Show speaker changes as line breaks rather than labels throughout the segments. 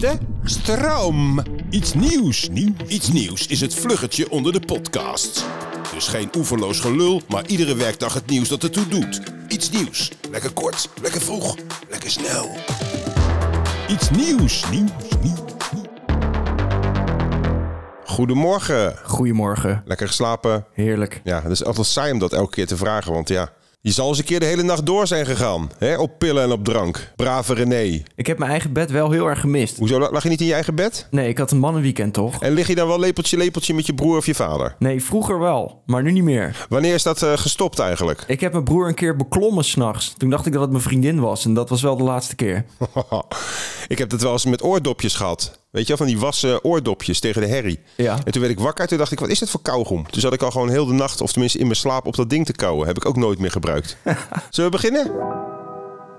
de stroom.
Iets nieuws, nieuw. Iets nieuws is het vluggetje onder de podcast. Dus geen oeverloos gelul, maar iedere werkdag het nieuws dat ertoe doet. Iets nieuws. Lekker kort, lekker vroeg, lekker snel. Iets nieuws, nieuws, nieuws. Goedemorgen.
Goedemorgen.
Lekker geslapen.
Heerlijk.
Ja, het is altijd saai om dat elke keer te vragen, want ja... Je zal eens een keer de hele nacht door zijn gegaan. Hè? Op pillen en op drank. Brave René.
Ik heb mijn eigen bed wel heel erg gemist.
Hoezo, lag je niet in je eigen bed?
Nee, ik had een mannenweekend toch?
En lig je dan wel lepeltje lepeltje met je broer of je vader?
Nee, vroeger wel, maar nu niet meer.
Wanneer is dat eh, gestopt eigenlijk?
Ik heb mijn broer een keer beklommen s'nachts. Toen dacht ik dat het mijn vriendin was en dat was wel de laatste keer.
ik heb dat wel eens met oordopjes gehad. Weet je wel, van die wassen oordopjes tegen de herrie.
Ja.
En toen werd ik wakker, toen dacht ik, wat is dit voor kauwgom? Toen zat ik al gewoon heel de nacht, of tenminste in mijn slaap, op dat ding te kauwen. Heb ik ook nooit meer gebruikt. Zullen we beginnen?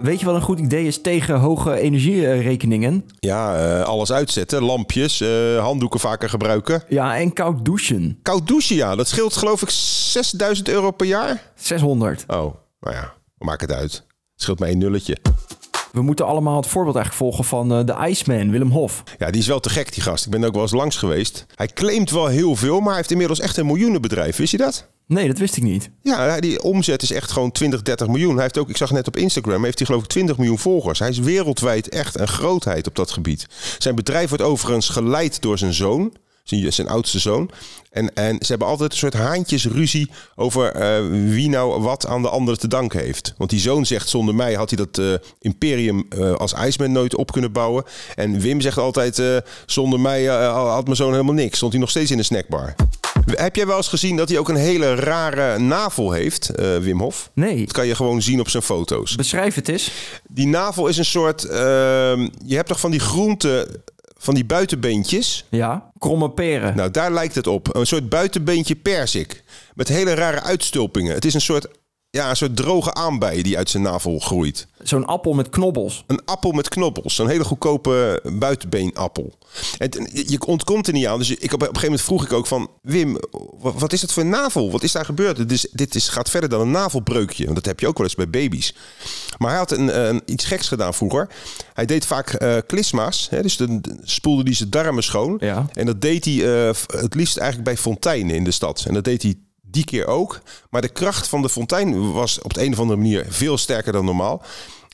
Weet je wat een goed idee is tegen hoge energierekeningen?
Ja, eh, alles uitzetten, lampjes, eh, handdoeken vaker gebruiken.
Ja, en koud douchen.
Koud douchen, ja. Dat scheelt geloof ik 6000 euro per jaar.
600.
Oh, nou ja, maak het uit. Het scheelt mij een nulletje.
We moeten allemaal het voorbeeld eigenlijk volgen van eh, de Iceman, Willem Hof.
Ja, die is wel te gek, die gast. Ik ben er ook wel eens langs geweest. Hij claimt wel heel veel, maar hij heeft inmiddels echt een miljoenenbedrijf. Wist je dat?
Nee, dat wist ik niet.
Ja, die omzet is echt gewoon 20, 30 miljoen. Hij heeft ook, ik zag net op Instagram, heeft hij geloof ik 20 miljoen volgers. Hij is wereldwijd echt een grootheid op dat gebied. Zijn bedrijf wordt overigens geleid door zijn zoon, zijn, zijn oudste zoon. En, en ze hebben altijd een soort haantjesruzie over eh, wie nou wat aan de ander te danken heeft. Want die zoon zegt, zonder mij had hij dat eh, imperium eh, als IJsman nooit op kunnen bouwen. En Wim zegt altijd, eh, zonder mij eh, had mijn zoon helemaal niks. Stond hij nog steeds in de snackbar. Heb jij wel eens gezien dat hij ook een hele rare navel heeft, eh, Wim Hof?
Nee.
Dat kan je gewoon zien op zijn foto's.
Beschrijf het eens.
Die navel is een soort... ehm, je hebt toch van die groenten, van die buitenbeentjes?
Ja, kromme peren.
Nou, daar lijkt het op. Een soort buitenbeentje persik. Met hele rare uitstulpingen. Het is een soort, ja, een soort droge aanbij die uit zijn navel groeit.
Zo'n appel met knobbels.
Een appel met knobbels. Zo'n hele goedkope buitenbeenappel. En t- je ontkomt er niet aan. Dus ik, op een gegeven moment vroeg ik ook van... Wim, wa- wat is dat voor navel? Wat is daar gebeurd? Dit, is, dit is, gaat verder dan een navelbreukje. Want dat heb je ook wel eens bij baby's. Maar hij had een, een- iets geks gedaan vroeger. Hij deed vaak eh, klisma's. Hè? Dus dan spoelde hij zijn darmen schoon.
Ja.
En dat deed hij eh, f- het liefst eigenlijk bij fonteinen in de stad. En dat deed hij die keer ook. Maar de kracht van de fontein was op de een of andere manier veel sterker dan normaal.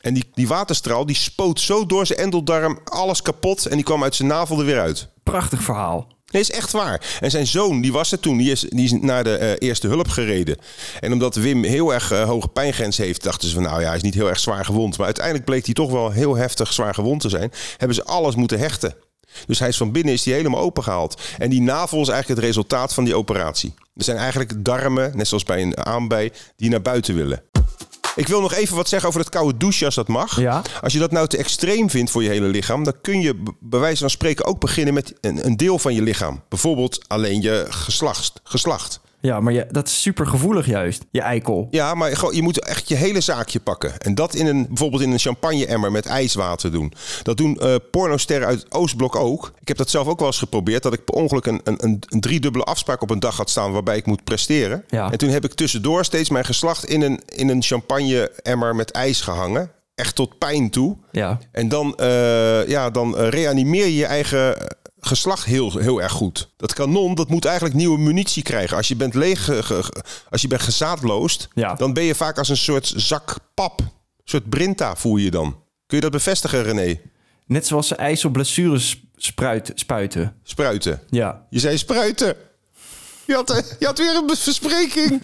En die, die waterstraal die spoot zo door zijn endeldarm alles kapot. En die kwam uit zijn navel er weer uit.
Prachtig verhaal.
Nee, is echt waar. En zijn zoon, die was er toen, die is, die is naar de eh, eerste hulp gereden. En omdat Wim heel erg eh, hoge pijngrens heeft, dachten ze van nou ja, hij is niet heel erg zwaar gewond. Maar uiteindelijk bleek hij toch wel heel heftig zwaar gewond te zijn. Hebben ze alles moeten hechten. Dus hij is van binnen is die helemaal opengehaald. En die navel is eigenlijk het resultaat van die operatie. Er zijn eigenlijk darmen, net zoals bij een aanbij, die naar buiten willen. Ik wil nog even wat zeggen over dat koude douchen, als dat mag.
Ja.
Als je dat nou te extreem vindt voor je hele lichaam, dan kun je b- bij wijze van spreken ook beginnen met een, een deel van je lichaam. Bijvoorbeeld alleen je geslacht. geslacht.
Ja, maar je, dat is super gevoelig juist, je eikel.
Ja, maar gewoon- je moet echt je hele zaakje pakken. En dat in een, bijvoorbeeld in een champagne-emmer met ijswater doen. Dat doen eh pornosterren uit het Oostblok ook. Ik heb dat zelf ook wel eens geprobeerd. Dat ik per ongeluk een, een, een, een driedubbele afspraak op een dag had staan waarbij ik moet presteren.
Ja.
En toen heb ik tussendoor steeds mijn geslacht in een, in een champagne-emmer met ijs gehangen. Echt tot pijn toe.
Ja.
En dan, eh, ja, dan eh, reanimeer je je eigen eh, geslacht heel, heel erg goed. Dat kanon, dat moet eigenlijk nieuwe munitie krijgen. Als je bent leeg, ge- ge- ge- als je bent gezaadloosd,
Ja.
dan ben je vaak als een soort zak pap. Een soort brinta voel je je dan. Kun je dat bevestigen, René?
Net zoals ze ijs op blessures sp- spruit, spuiten.
Spruiten.
Ja.
Je zei spruiten. Je had, eh, je had weer een verspreking.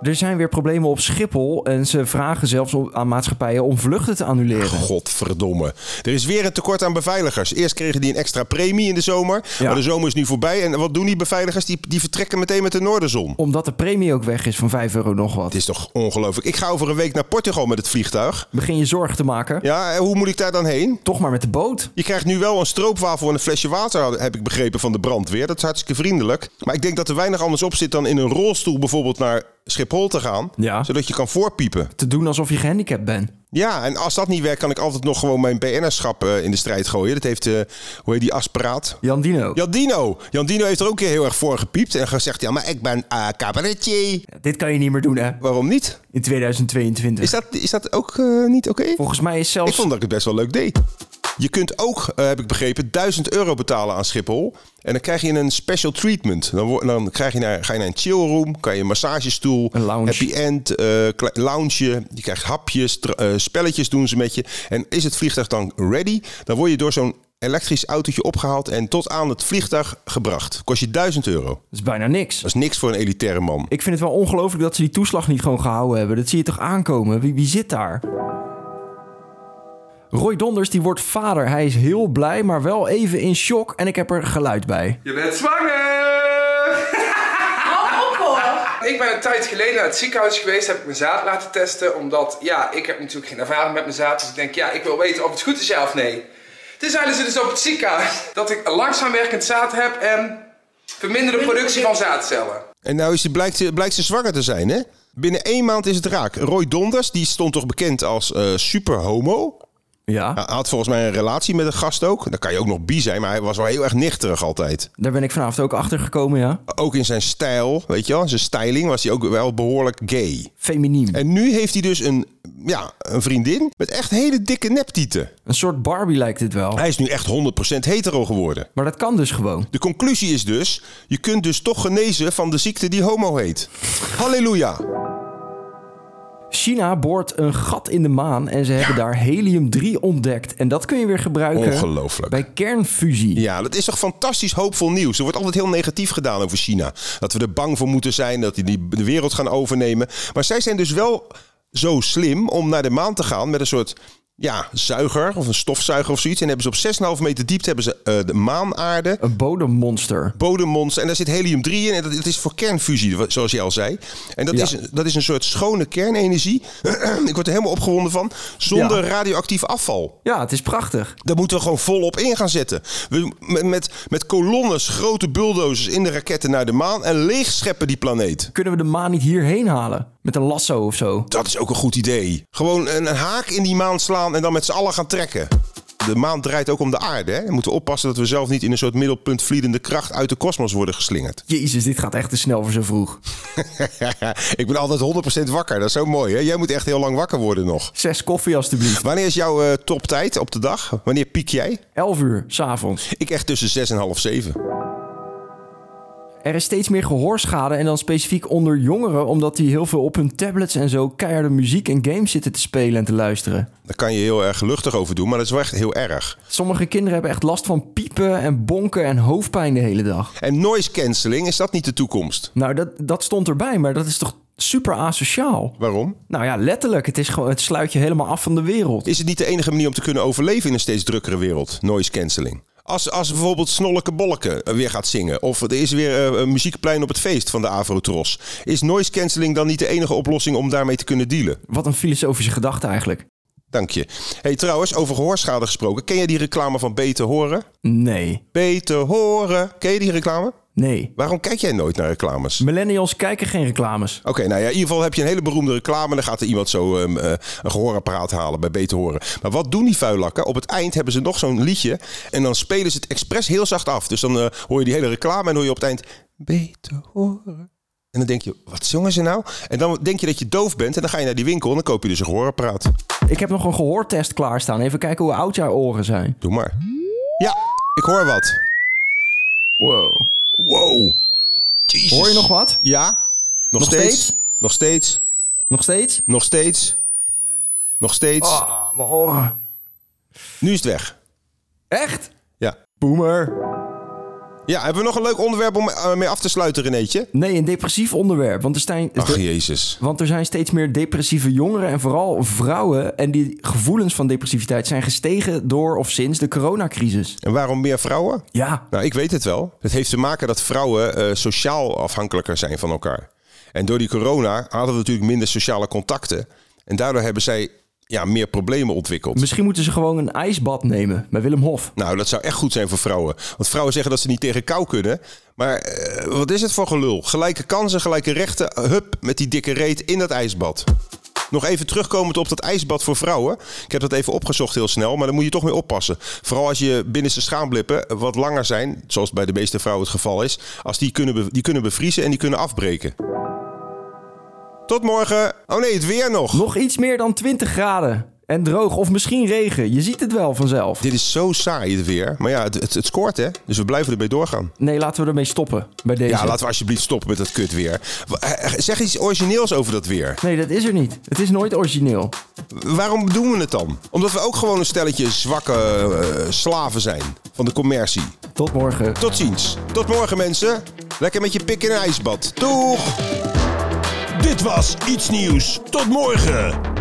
Er zijn weer problemen op Schiphol en ze vragen zelfs op- aan maatschappijen om vluchten te annuleren.
Godverdomme. Er is weer een tekort aan beveiligers. Eerst kregen die een extra premie in de zomer.
Ja.
Maar de zomer is nu voorbij. En wat doen die beveiligers? Die, die vertrekken meteen met de noorderzon.
Omdat de premie ook weg is van 5 euro nog wat.
Het is toch ongelooflijk. Ik ga over een week naar Portugal met het vliegtuig.
Begin je zorgen te maken.
Ja, en hoe moet ik daar dan heen?
Toch maar met de boot.
Je krijgt nu wel een stroopwafel en een flesje water, heb ik begrepen, van de brandweer. Dat is hartstikke vriendelijk. Maar ik denk dat er weinig anders op zit dan in een rolstoel bijvoorbeeld naar Schiphol te gaan.
Ja.
Zodat je kan voorpiepen.
Te doen alsof je gehandicapt bent.
Ja, en als dat niet werkt, kan ik altijd nog gewoon mijn BN'erschap eh, in de strijd gooien. Dat heeft, eh, hoe heet die, Asperaat?
Jan Dino.
Jan Dino. Jan Dino heeft er ook heel erg voor gepiept en gezegd... ja, maar ik ben eh cabaretier.
Dit kan je niet meer doen, hè?
Waarom niet?
In 2022.
Is dat, is dat ook eh, niet oké?
Volgens mij is zelfs...
Ik vond dat ik het best wel leuk deed. Je kunt ook, eh, heb ik begrepen, 1000 euro betalen aan Schiphol. En dan krijg je een special treatment. Dan, wo- dan krijg je naar, ga je naar een chillroom, kan je een massagestoel,
Een lounge.
happy end, eh, kle- lounge. Je krijgt hapjes, dr- eh, spelletjes doen ze met je. En is het vliegtuig dan ready, dan word je door zo'n elektrisch autootje opgehaald en tot aan het vliegtuig gebracht. Kost je 1000 euro.
Dat is bijna niks.
Dat is niks voor een elitaire man.
Ik vind het wel ongelooflijk dat ze die toeslag niet gewoon gehouden hebben. Dat zie je toch aankomen? Wie, wie zit daar? Roy Donders die wordt vader. Hij is heel blij, maar wel even in shock. En ik heb er geluid bij.
Je bent zwanger! Ik ben een tijd geleden naar het ziekenhuis geweest, heb ik mijn zaad laten testen. Omdat, ja, ik heb natuurlijk geen ervaring met mijn zaad. Dus ik denk, ja, ik wil weten of het goed is, ja of nee. Toen zeiden ze dus op het ziekenhuis dat ik een langzaam werkend zaad heb en verminderde productie van zaadcellen.
En nou is die, blijkt, ze- blijkt ze zwanger te zijn, hè? Binnen één maand is het raak. Roy Donders, die stond toch bekend als eh super homo?
Ja,
Hij had volgens mij een relatie met een gast ook. Dan kan je ook nog bi zijn, maar hij was wel heel erg nichterig altijd.
daar ben ik vanavond ook achter gekomen, ja.
Ook in zijn stijl, weet je wel, zijn styling was hij ook wel behoorlijk gay.
Feminiem.
En nu heeft hij dus een, ja, een vriendin met echt hele dikke neptieten.
Een soort Barbie lijkt het wel.
Hij is nu echt 100% hetero geworden.
Maar dat kan dus gewoon.
De conclusie is dus, je kunt dus toch genezen van de ziekte die homo heet. Halleluja.
China boort een gat in de maan en ze hebben daar helium-3 ontdekt. En dat kun je weer gebruiken
Ongelooflijk.
bij kernfusie.
Ja, dat is toch fantastisch hoopvol nieuws. Er wordt altijd heel negatief gedaan over China. Dat we er bang voor moeten zijn, dat die die de wereld gaan overnemen. Maar zij zijn dus wel zo slim om naar de maan te gaan met een soort ja, zuiger of een stofzuiger of zoiets. En hebben ze op 6,5 meter diepte hebben ze eh, de maanaarde.
Een bodemmonster.
Bodemmonster. En daar zit helium-3 in. En dat, het is voor kernfusie, wa- zoals je al zei. En dat,
Ja.
is, dat is een soort schone kernenergie. Ik word er helemaal opgewonden van. Zonder
Ja.
radioactief afval.
Ja, het is prachtig.
Daar moeten we gewoon volop in gaan zetten. We, met, met, met kolonnes, grote bulldozers in de raketten naar de maan en leegscheppen die planeet.
Kunnen we de maan niet hierheen halen? Met een lasso of zo.
Dat is ook een goed idee. Gewoon een, een haak in die maan slaan en dan met z'n allen gaan trekken. De maan draait ook om de aarde. Hè? We moeten oppassen dat we zelf niet in een soort middelpunt vliedende kracht uit de kosmos worden geslingerd.
Jezus, dit gaat echt te snel voor zo vroeg.
Ik ben altijd 100% wakker. Dat is zo mooi. Hè? Jij moet echt heel lang wakker worden nog.
Zes koffie alstublieft.
Wanneer is jouw eh, toptijd op de dag? Wanneer piek jij?
Elf uur, s'avonds.
Ik echt tussen 6 en half 7.
Er is steeds meer gehoorschade en dan specifiek onder jongeren... omdat die heel veel op hun tablets en zo keiharde muziek en games zitten te spelen en te luisteren.
Daar kan je heel erg luchtig over doen, maar dat is wel echt heel erg.
Sommige kinderen hebben echt last van piepen en bonken en hoofdpijn de hele dag.
En noise cancelling, is dat niet de toekomst?
Nou, dat, dat stond erbij, maar dat is toch super asociaal?
Waarom?
Nou ja, letterlijk. Het, is gewoon, het sluit je helemaal af van de wereld.
Is het niet de enige manier om te kunnen overleven in een steeds drukkere wereld? Noise cancelling. Als, als bijvoorbeeld Snolleke Bolleke eh, weer gaat zingen. Of er is weer eh, een muziekplein op het feest van de Avrotros. Is noise cancelling dan niet de enige oplossing om daarmee te kunnen dealen?
Wat een filosofische gedachte eigenlijk.
Dank je. hey, trouwens, over gehoorschade gesproken. Ken jij die reclame van Beter Horen?
Nee,
Beter Horen. Ken je die reclame?
nee.
Waarom kijk jij nooit naar reclames?
Millennials kijken geen reclames.
Oké, nou ja, in ieder geval heb je een hele beroemde reclame. Dan gaat er iemand zo ehm, eh, een gehoorapparaat halen bij Beter Horen. Maar wat doen die vuilakken? Op het eind hebben ze nog zo'n liedje. En dan spelen ze het expres heel zacht af. Dus dan eh, hoor je die hele reclame en hoor je op het eind Beter Horen. En dan denk je, wat zongen ze nou? En dan denk je dat je doof bent. En dan ga je naar die winkel en dan koop je dus een gehoorapparaat.
Ik heb nog een gehoortest klaarstaan. Even kijken hoe oud jouw oren zijn.
Doe maar. Ja, ik hoor wat.
Wow.
Wow. Jezus.
Hoor je nog wat?
Ja. Nog,
Nog
steeds?
steeds?
Nog steeds.
Nog steeds?
Nog steeds. Nog steeds.
Ah, mijn oren.
Nu is het weg.
Echt?
Ja.
Boomer.
Ja, hebben we nog een leuk onderwerp om eh, mee af te sluiten, Renéetje?
Nee, een depressief onderwerp. Want er, zijn,
Ach, jezus.
want er zijn steeds meer depressieve jongeren en vooral vrouwen. En die gevoelens van depressiviteit zijn gestegen door of sinds de coronacrisis.
En waarom meer vrouwen?
Ja.
Nou, ik weet het wel. Het heeft te maken dat vrouwen eh, sociaal afhankelijker zijn van elkaar. En door die corona hadden we natuurlijk minder sociale contacten. En daardoor hebben zij ja, meer problemen ontwikkeld.
Misschien moeten ze gewoon een ijsbad nemen bij Willem Hof.
Nou, dat zou echt goed zijn voor vrouwen. Want vrouwen zeggen dat ze niet tegen kou kunnen. Maar eh, wat is het voor gelul? Gelijke kansen, gelijke rechten. Hup, met die dikke reet in dat ijsbad. Nog even terugkomend op dat ijsbad voor vrouwen. Ik heb dat even opgezocht heel snel, maar daar moet je toch mee oppassen. Vooral als je binnenste schaamblippen wat langer zijn, zoals bij de meeste vrouwen het geval is. Als die kunnen, be- die kunnen bevriezen en die kunnen afbreken. Tot morgen. Oh nee, het weer nog.
Nog iets meer dan 20 graden. En droog of misschien regen. Je ziet het wel vanzelf.
Dit is zo saai het weer. Maar ja, het, het, het scoort hè. Dus we blijven ermee doorgaan.
Nee, laten we ermee stoppen bij deze.
Ja, laten we alsjeblieft stoppen met dat kut weer. eh, Zeg iets origineels over dat weer.
Nee, dat is er niet. Het is nooit origineel.
Waarom doen we het dan? Omdat we ook gewoon een stelletje zwakke eh, slaven zijn van de commercie.
Tot morgen.
Tot ziens. Tot morgen mensen. Lekker met je pik in een ijsbad. Doeg! Dit was Iets Nieuws. Tot morgen!